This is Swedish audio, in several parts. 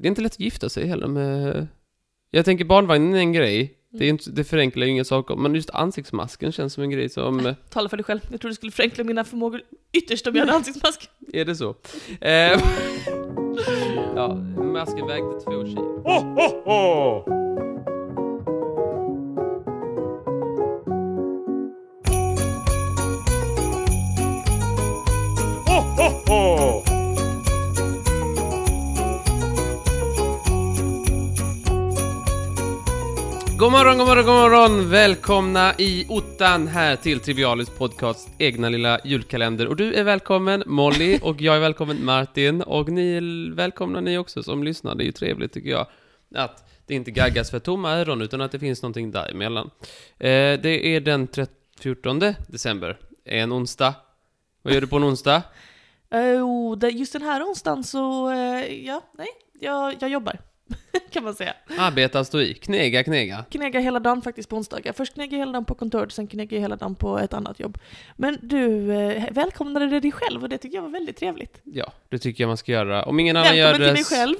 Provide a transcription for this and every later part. det är inte lätt att gifta sig heller med... Jag tänker barnvagnen är en grej. Det, är ju inte, det förenklar ju inga saker, men just ansiktsmasken känns som en grej som... Tala för dig själv. Jag tror du skulle förenkla mina förmågor ytterst om jag hade ansiktsmask. Är det så? Eh, ja, masken vägde två kilo. God morgon, god morgon, god morgon! Välkomna i ottan här till Trivialis podcast egna lilla julkalender. Och du är välkommen Molly och jag är välkommen Martin och ni är välkomna ni också som lyssnar. Det är ju trevligt tycker jag att det inte gaggas för tomma öron utan att det finns någonting däremellan. Eh, det är den 13 14 december, en onsdag. Vad gör du på en onsdag? Eh, oh, det- just den här onsdagen så, eh, ja, nej, jag, jag jobbar. kan man säga. Arbeta, stå i, knega, knega. Knega hela dagen faktiskt på onsdagar. Först knega hela dagen på kontoret, sen knega hela dagen på ett annat jobb. Men du eh, välkomnade dig själv och det tycker jag var väldigt trevligt. Ja, det tycker jag man ska göra. Om ingen annan gör Välkommen till det... dig själv.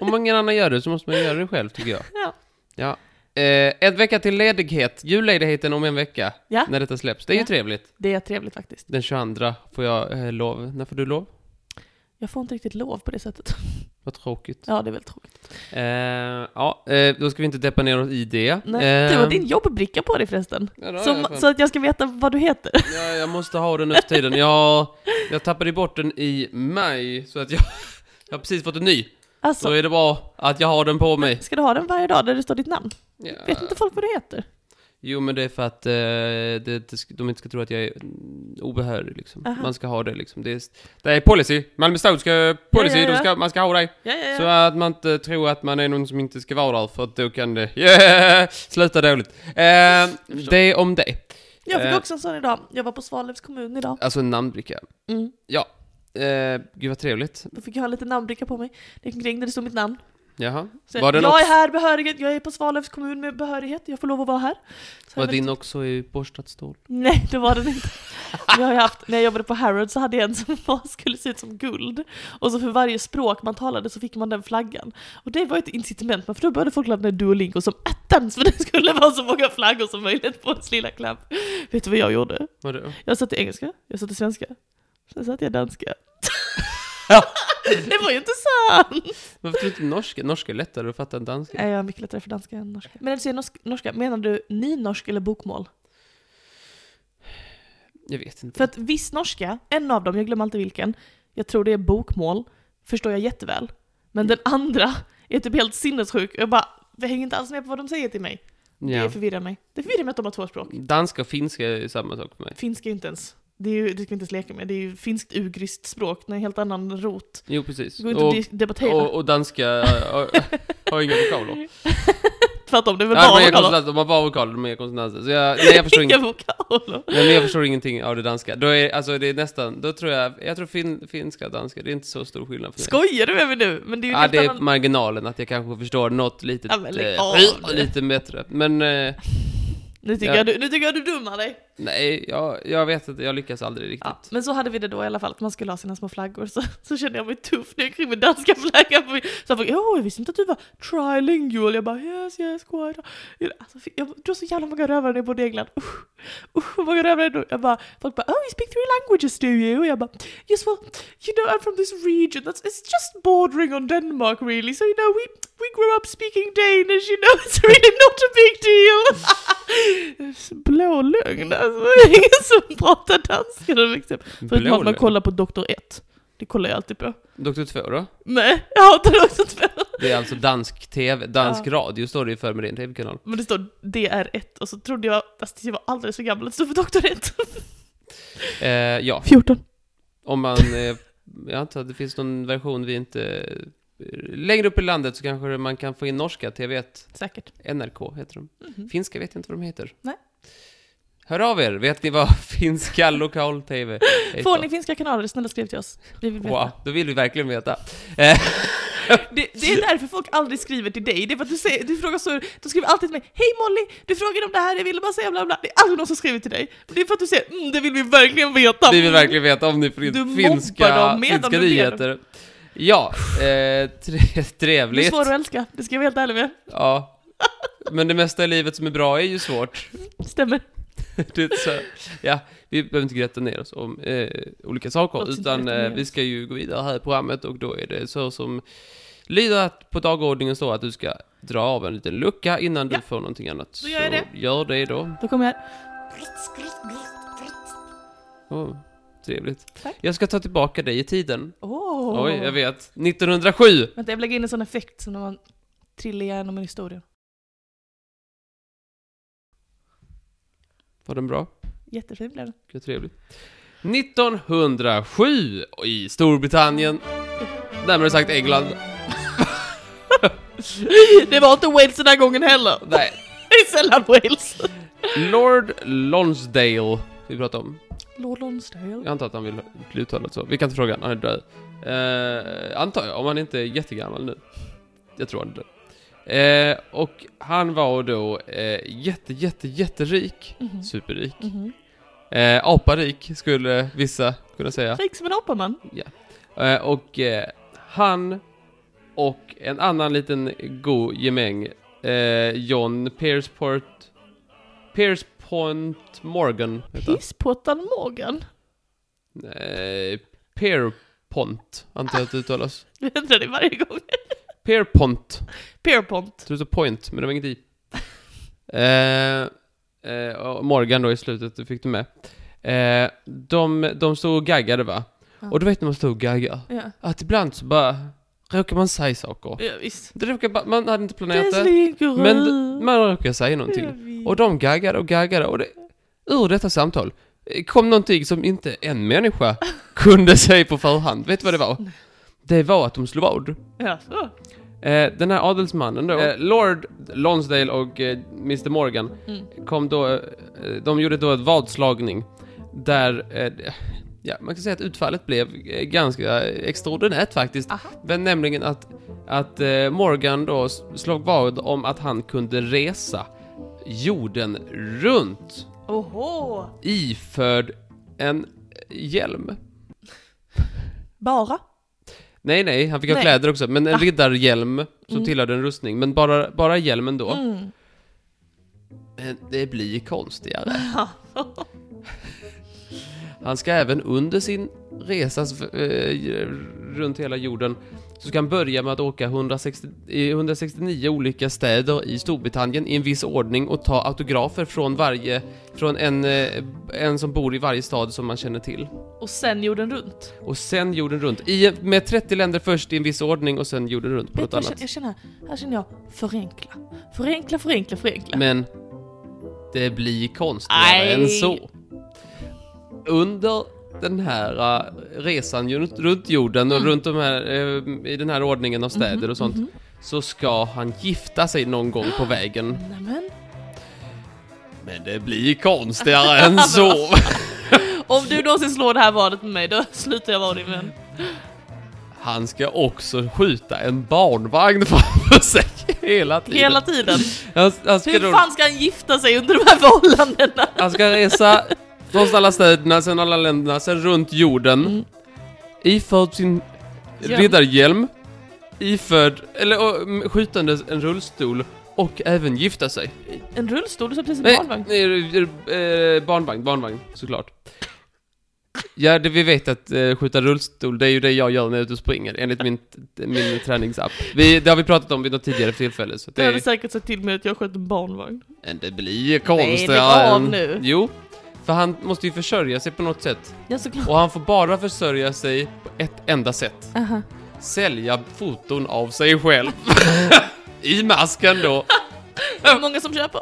Om ingen annan gör det så måste man göra det själv, tycker jag. Ja. Ja. Eh, en vecka till ledighet. Julledigheten om en vecka. Ja. När detta släpps. Det är ju Ah. Ja. trevligt. Det är trevligt faktiskt. Den 22 får jag eh, lov. När får du lov? Jag får inte riktigt lov på det sättet. Vad tråkigt. Ja, det är väl tråkigt. Eh, ja, eh, då ska vi inte deppa ner oss i det. Nej, Eh, du har din jobbbricka på dig förresten. ja, det har jag Som, fan. så att jag ska veta vad du heter. ja, jag måste ha den nu för tiden. Jag, jag tappade bort den i maj, så att jag, jag har precis fått en ny. Alltså, Så är det bra att jag har den på mig. Ska du ha den varje dag där det står ditt namn? Ja. Vet inte folk vad du heter? Jo, men det är för att eh, det, det, sk- de inte ska tro att jag är mm, obehörig liksom. Aha. Man ska ha det liksom. Det är, det är policy. Malmö stad ska policy, Ja, Eh. ja, ja. De ska, man ska ha dig. Ja, ja, Så att man inte tror att man är någon som inte ska vara där, för att då kan det yeah, sluta dåligt. Eh, det om det. Jag fick eh. också en sån idag. Jag var på Svalövs kommun idag. Alltså en namnbricka. Mm. Ja. Eh, gud vad trevligt. Då fick jag ha lite namnbricka på mig. Det gick omkring där det stod mitt namn. Jaha. Så Var den jag också- är här behörighet, jag är på Svalövs kommun med behörighet, jag får lov att vara här. Så Var jag vet- din också i borstat stål? Nej, det var den inte. Jag har ju haft, när jag jobbade på Harrods så hade jag en som var, skulle se ut som guld. Och så för varje språk man talade så fick man den flaggan. Och det var ett incitament, men för då började folk ladda ner Duolingo som attans för det skulle vara så många flaggor som möjligt på ens lilla klapp. Vet du vad jag gjorde? Var det? Jag satte engelska, jag satte svenska, sen satte jag danska. Ja. det var ju inte sant! Varför tror du inte norska? Norska är lättare att fatta än danska. Nej, jag har mycket lättare för danska än norska. Men när du säger norsk, norska, menar du nynorsk eller bokmål? Jag vet inte. För att viss norska, en av dem, jag glömmer alltid vilken, jag tror det är bokmål, förstår jag jätteväl. Men den andra är typ helt sinnessjuk, jag bara, jag hänger inte alls med på vad de säger till mig. Ja. Det förvirrar mig. Det förvirrar mig att de har två språk. Danska och finska är ju samma sak för mig. Finska är inte ens, det, är ju, det ska vi inte ens leka med, det är ju finskt-ugriskt språk, med en helt annan rot. Jo, precis. Det går inte att dis- debattera. och, och danska eh, har, har inga vokaler. Tvärtom, det är väl Nej, de har bara vokaler. konsonanter, de har bara vokaler, de har inga konsonanter. Så jag, nej, jag förstår Inga inget. vokaler. Nej, men jag förstår ingenting av det danska. Då är, alltså, det är nästan, då tror jag, jag tror fin, finska och danska, det är inte så stor skillnad för mig. Skojar du med mig nu? Men det är ju en Ja, helt det är annan- marginalen, att jag kanske förstår något litet, Ja, men lägg eh, av. lite bättre. Men, eh, Nu tycker, Ja. jag, du, nu tycker jag du dummar dig. nej, jag, jag vet inte, jag lyckas aldrig riktigt. Ja, men så hade vi det då i alla fall, att man skulle ha sina små flaggor. Så, så kände jag mig tuff när jag kring med danska flaggan. på mig. Så jag bara, åh, jag visste inte att du var trilingual. Jag bara, yes, yes, quite. Alltså, fy- jag, det var så jävla många rövare när jag bodde i England. Usch, usch, hur många rövare då? Jag bara, folk bara, oh, you speak three languages, do you? Och jag bara, yes, well, you know, I'm from this region. That's, it's just bordering on Denmark, really. So, you know, we, we grew up speaking Danish, you know, it's really not a big deal. Blå lögn, alltså. Det är ingen som pratar danska. då, Liksom. Förutom att man Blålön. kollar på Doktor 1. Det kollar jag alltid på. Doktor 2 då? Nej, jag hatar också två. Det är alltså dansk TV, dansk radio står det ju för med din TV-kanal. Men det står DR1 och så trodde jag, fast jag var alldeles för gammal, att det stod för Doktor 1. Eh, ja, 14. Om man... Eh, jag antar att det finns någon version vi inte... eh, Längre upp i landet så kanske man kan få in norska TV1. Säkert. NRK heter de. Mhm. Finska vet jag inte vad de heter. Nej. Hör av er! Vet ni vad finska lokal-TV heter? Får ni finska kanaler, snälla skriv till oss. Vi vill veta. Wow, då vill vi verkligen veta. Det, det är därför folk aldrig skriver till dig. Det är för att du, säger, du frågar så, de skriver alltid till mig Hej Molly, du frågade om det här, jag ville bara säga bla bla. Det är aldrig någon som skriver till dig. Det är för att du säger mm, det vill vi verkligen veta. Vi vill verkligen veta om ni får Du in mobbar finska, dem med finska dem, du ber dem. nyheter. Ja, eh, tre, Det är trevligt. svårt att älska, det ska jag vara helt ärlig med. Ja. Men det mesta i livet som är bra är ju svårt. Stämmer. Det är typ så, ja, vi behöver inte grätta ner oss om eh, olika Låt saker, oss inte utan grätta ner eh, vi ska ju gå vidare här i programmet och då är det så som lyder att på dagordningen står att du ska dra av en liten lucka innan du Ja. får någonting annat. Då gör jag det. Gör det då. Då kommer jag här. Åh, trevligt. Tack. Jag ska ta tillbaka dig i tiden. Åh! Oj, jag vet. 1907! Vänta, jag lägger in en sån effekt som när man trillar igenom en historia. Var den bra? Jättefin blev den. Gud, trevligt. 1907 i Storbritannien. Närmare sagt England. Det var inte Wales den här gången heller. Nej, Det är sällan Wales. Lord Lonsdale vi pratar om. Lord Lonsdale. Jag antar att han vill bli uttalad så. Vi kan inte fråga han, han är död. Eh, antar jag, om han inte är jättegammal nu. Jag tror han är död. Eh, och han var då eh, jätte, jätte, jätterik. Mhm. Superrik. Mhm. Eh, aparik skulle vissa kunna säga. Rik som en apaman. Eh, och eh, han och en annan liten god gemäng, eh, John Pierceport... Piercepont Morgan heter han. Pisspottan Morgan. Eh, Pierpont, antar jag att det uttalas. Du ändrar dig varje gång. Pierpont. Pierpont. Det står point, men det var inget i. Eh, eh, och Morgan då i slutet, det fick du med. Eh, de, de stod och gaggade va? Ja. Och du vet när man står och gaggar, Ja, att ibland så bara råkar man säga saker. ja visst. Det råkar bara, man hade inte planerat det. Deslinker Men man råkar säga någonting. Och de gaggade och gaggade och det, ur detta samtal eh, kom någonting som inte en människa kunde säga på förhand. Vet du vad det var? Det var att de slog vad. Ja, så. Eh, den här adelsmannen då, eh, Lord Lonsdale och eh, Mr Morgan Mm. kom då, eh, de gjorde då ett vadslagning där, eh, ja man kan säga att utfallet blev eh, ganska extraordinärt faktiskt. Aha. Men nämligen att, att eh, Morgan då s- slog vad om att han kunde resa jorden runt Oho. iförd en hjälm. Bara. Nej, nej, han fick ha Nej. kläder också, men en Ah. riddarhjälm som Mm. tillhörde en rustning, men bara, bara hjälmen då. Mm. Men Eh, det blir konstigare. Han ska även under sin resas eh, runt hela jorden så ska han börja med att åka 160, i 169 olika städer i Storbritannien i en viss ordning och ta autografer från varje, från en, eh, en som bor i varje stad som man känner till. Och sen jorden runt. Och sen jorden runt, i, med 30 länder först i en viss ordning och sen jorden runt på Vet något du, jag, känner, annat. jag känner, här känner jag förenkla. Förenkla, förenkla, förenkla. Men det blir konstigare Aj. än så. Under den här eh, resan ju runt, runt jorden och Mm. runt de här, eh, i den här ordningen av städer Mm-hmm, och sånt så ska han gifta sig någon gång på vägen. Nämen. Men det blir konstigare än så. Om du någonsin slår det här vadet med mig, då slutar jag vara din vän. Han ska också skjuta en barnvagn framför sig hela tiden. Hela tiden. Han, han, ska Hur då, fan ska han gifta sig under de här förhållandena? han ska resa från alla städerna, sen alla länderna, sen runt jorden. Mm. Iförd sin Hjälm. riddarhjälm, iförd, eller och, mm, skjutandes en rullstol och även gifta sig. En rullstol, du sa precis en Nej, barnvagn. nej, eh, barnvagn, barnvagn, såklart. Ja, det, vi vet att eh, skjuta rullstol, det är ju det jag gör när jag är ute och springer, enligt min, min träningsapp. Vi, det har vi pratat om vid något tidigare tillfälle, så Du det, hade är, säkert sett till mig att jag sköt en barnvagn. men Eh, det blir Nej, lägg konstigare av än- nu. Jo, för han måste ju försörja sig på något sätt. Ja, såklart. Och han får bara försörja sig på ett enda sätt. Aha. sälja foton av sig själv. I masken då. Det är många som köper.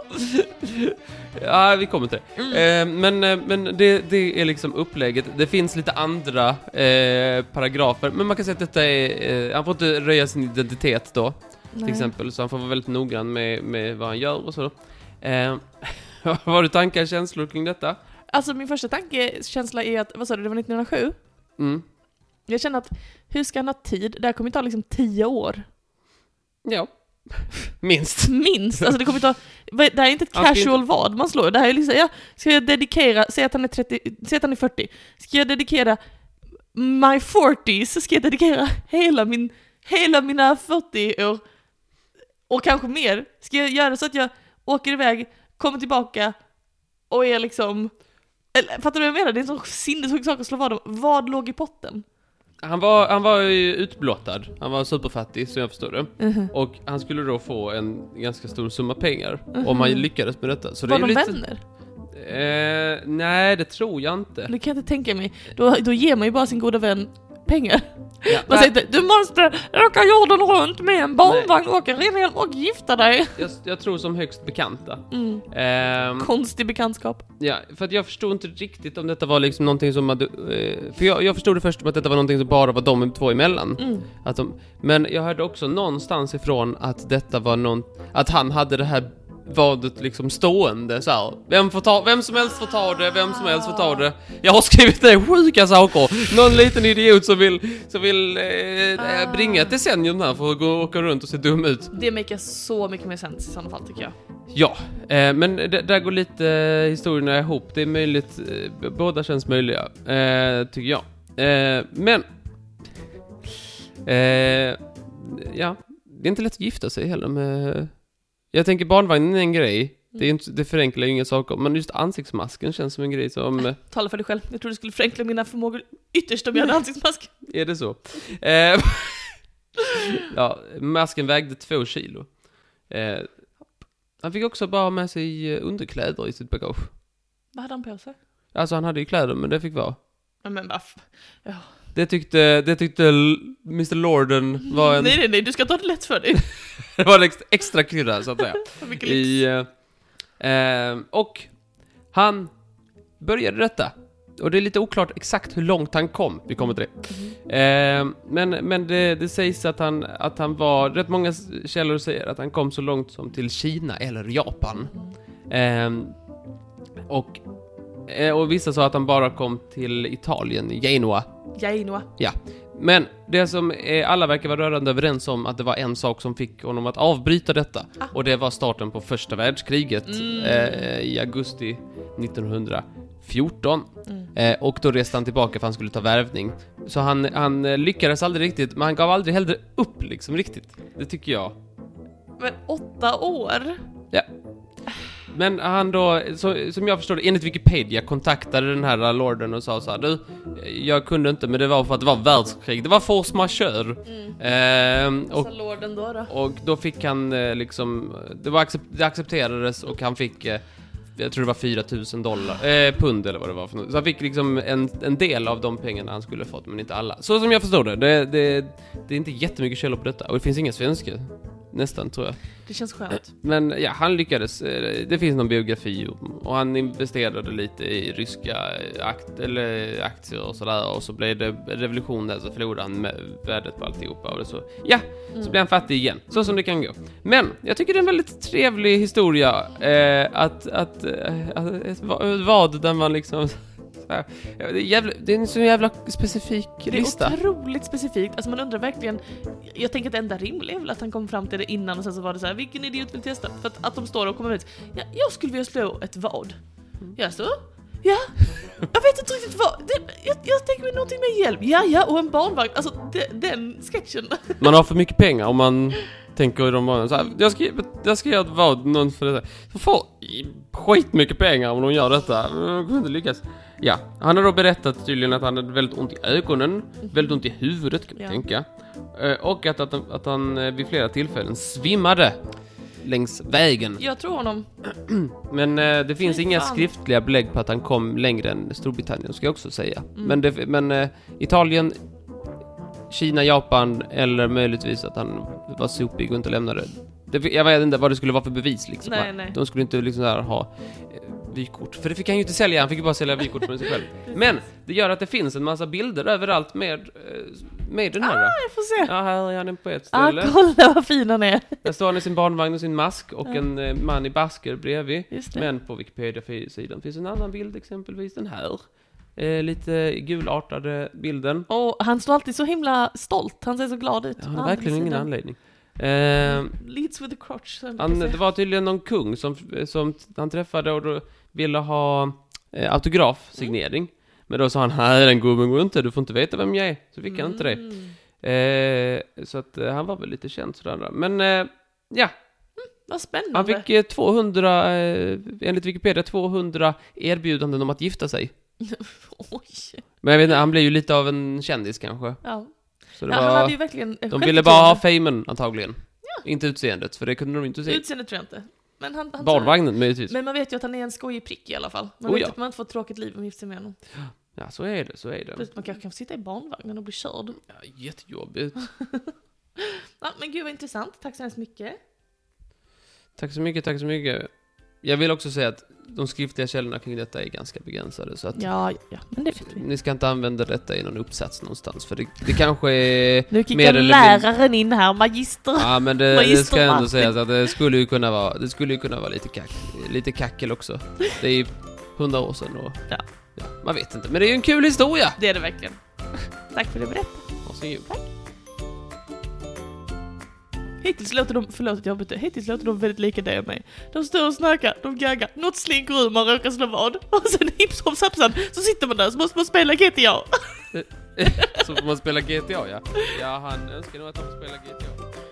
Ja, vi kommer till Mm. det. Eh, men eh, men det, det är liksom upplägget. Det finns lite andra eh, paragrafer, men man kan säga att detta är... Eh, han får inte röja sin identitet då, till exempel. Så han får vara väldigt noggrann med, med vad han gör och så. Eh, vad har du tankar och känslor kring detta? Alltså min första tanke, känsla är att, vad sa du, det var 1907? Mm. Jag känner att, hur ska han ha tid? Det här kommer ju ta liksom 10 år. Ja. Minst. Minst! Alltså det kommer ta... vad- Det här är inte ett Han ska casual vad man slår, det här är liksom, ja, ska jag dedikera, säg att han är 30, säg att han är 40, ska jag dedikera my 40s ska jag dedikera hela, min, hela mina 40 år och kanske mer. Ska jag göra så att jag åker iväg, kommer tillbaka och är liksom... Eller, fattar du vad jag menar? Det är en sån sinnessjuk sak att slå vad om. Vad låg i potten? Han var, han var ju utblottad, han var superfattig som jag förstår det. Och han skulle då få en ganska stor summa pengar om han lyckades med detta. Så det Mhm. Var är ju de lite... vänner? Eh, nej, det tror jag inte. Det kan jag inte tänka mig. Då, då ger man ju bara sin goda vän pengar. Ja. Man säger inte du måste åka jorden runt med en barnvagn, åka renhjälm och gifta dig. jag, jag tror som högst bekanta. Mm. Ehm, Konstig bekantskap. ja, för att jag förstod inte riktigt om detta var liksom någonting som hade, eh, För jag, jag förstod det först som att detta var någonting som bara var de två emellan. Mm. Att de, men jag hörde också någonstans ifrån att detta var någon... Att han hade det här vadet liksom stående så här. Vem, får ta, vem som helst får ta det, vem som helst får ta det. Jag har skrivit ner sjuka saker. Någon liten idiot som vill, som vill eh, eh, bringa ett decennium här för att gå, åka runt och se dum ut. Det maker så mycket mer sens i sådana fall tycker jag. Ja, eh, men d- där går lite eh, historierna ihop. Det är möjligt, eh, b- båda känns möjliga, eh, tycker jag. Eh, men... Eh, ja, det är inte lätt att gifta sig heller med... Jag tänker barnvagnen är en grej. Det, är inte, det förenklar ju inga saker, men just ansiktsmasken känns som en grej som... eh, Tala för dig själv. Jag tror du skulle förenkla mina förmågor ytterst om jag hade ansiktsmask. Är det så? Eh, ja, masken vägde två kilo. Eh, han fick också bara ha med sig eh, underkläder i sitt bagage. Vad hade han på sig? Alltså han hade ju kläder, men det fick vara. Nej men vaff. Det tyckte, det tyckte L- Mr Lorden var en, Nej nej nej, du ska ta det lätt för dig. det var en ex- extra krydda så att säga. För mycket lyx. I, eh, eh, och han började detta. Och det är lite oklart exakt hur långt han kom, vi kommer till det. Eh, men men det, det sägs att han, att han var, rätt många s- källor säger att han kom så långt som till Kina eller Japan. Ehm, och, eh, och vissa sa att han bara kom till Italien, Genua. Jainoa. Men det som eh, alla verkar vara rörande överens om att det var en sak som fick honom att avbryta detta Ah. och det var starten på första världskriget Mm. eh, i augusti 1914 Mm. eh, och då reste han tillbaka för han skulle ta värvning. Så han, han eh, lyckades aldrig riktigt, men han gav aldrig heller upp liksom riktigt. Det tycker jag. Men åtta år? Men han då, så, som jag förstår det, enligt Wikipedia kontaktade den här lorden och sa så här, du, jag kunde inte men det var för att det var världskrig, det var force majeure. Mm. Ehm, och Och lorden då då? Och då fick han eh, liksom, det, var accep- det accepterades och han fick, eh, jag tror det var 4000 dollar, eh, pund eller vad det var för något. Så han fick liksom en, en del av de pengarna han skulle fått, men inte alla. Så som jag förstod det, det, det, det är inte jättemycket källor på detta. Och det finns inga svenska, nästan tror jag. Det känns skönt. Men ja, han lyckades. Eh, Det finns någon biografi om- och han investerade lite i ryska eh, akt, eller aktier och sådär och så blev det revolution där så förlorade han med- värdet på alltihopa och det så. Ja, Mm. så blev han fattig igen. Så som det kan gå. Men jag tycker det är en väldigt trevlig historia eh, att, att, eh, att ett va- ett vad där man liksom så här, Ja, det, är jävla, det är en så jävla specifik Det är lista. otroligt specifikt. Alltså man undrar verkligen. Jag tänker att det enda rimliga är väl att han kom fram till det innan och sen så var det så här, vilken idiot vill testa? För att, att de står och kommer ut. Ja, jag skulle vilja slå ett vad. Ja, så? Ja, jag vet inte riktigt vad. Det, jag, jag tänker mig någonting med hjälp. Ja, ja, och en barnvagn. Alltså de, den sketchen. Man har för mycket pengar om man tänker i de banorna. Så här, jag, ska, jag ska göra ett vad, någon för detta. Jag får skitmycket pengar om de gör detta. Men De kommer inte lyckas. Ja, han har då berättat tydligen att han hade väldigt ont i ögonen, väldigt ont i huvudet kan man Ja. tänka. Eh, Och att, att, han- att han eh, vid flera tillfällen svimmade längs vägen. Jag tror honom. Men eh, det finns Fy inga fan. skriftliga belägg på att han kom längre än Storbritannien, ska jag också säga. Mm. Men, det, men eh, Italien, Kina, Japan eller möjligtvis att han var sopig och inte lämnade. Det, jag vet inte vad det skulle vara för bevis liksom. Nej, nej. De skulle inte liksom där ha eh, vykort. För det fick han ju inte sälja, han fick ju bara sälja vykort för sig själv. Men det gör att det finns en massa bilder överallt med, eh, med den här. Jag får se. Ja, här är han på ett Ah, ställe. kolla vad fin han är. Där står han i sin barnvagn och sin mask och en eh, man i basker bredvid. Just det. Men på Wikipedia-sidan finns en annan bild, exempelvis den här. Eh, lite gulartade bilden. Och han står alltid så himla stolt. Han ser så glad ut. Ja, han Ah, har verkligen vid ingen sidan. anledning. Eh, Leads with the crotch. som jag han, brukar säga. det var tydligen någon kung Mm. som, som han träffade och då ville ha eh, autografsignering. Men då sa han, nej den gubben går inte, du får inte veta vem jag är. Så fick han inte det. Mm. Eh, så att eh, han var väl lite känd sådär. då. Men eh, ja, Vad spännande. han fick eh, 200, eh, enligt Wikipedia, 200 erbjudanden om att gifta sig. Oj. Men jag vet inte, han blev ju lite av en kändis kanske. Ja. Så det Ja, han hade ju var, verkligen de ville bara ha famen antagligen. Inte utseendet, för det kunde de inte se. Utseendet tror jag inte. Men, han, han Barnvagnen möjligtvis. men man vet ju att han är en skojig prick i alla fall. Man Oh, vet ja. att man inte får ett tråkigt liv om man gifter sig med honom. Ja, så är det, så är det. Plus att man kanske kan få sitta i barnvagnen och bli körd. Ja, jättejobbigt. Ja, men gud vad intressant. Tack så hemskt mycket. Tack så mycket, tack så mycket. Jag vill också säga att de skriftliga källorna kring detta är ganska begränsade, så att Ja, ja, men det vet vi. ni ska inte använda detta i någon uppsats någonstans, för det, det kanske är... Nu Mer kickar eller läraren in här, magister. Ja, men det, det ska jag ändå Magistermartin. sägas att det skulle ju kunna vara, det skulle ju kunna vara lite, kack, lite kackel också. Det är ju hundra år sedan och... Ja. ja. Man vet inte, men det är ju en kul historia! Det är det verkligen. Tack för det berättat. Varsågod. Hittills låter de, förlåt att jag bytte, hittills låter de väldigt lika dig och mig. De står och snackar, de gaggar, något slinker ur, man råkar slå vad. Och sen hips hops hoppsan, så sitter man där så måste man spela GTA. Så får man spela GTA, ja. Ja, han önskar nog att han får spela GTA.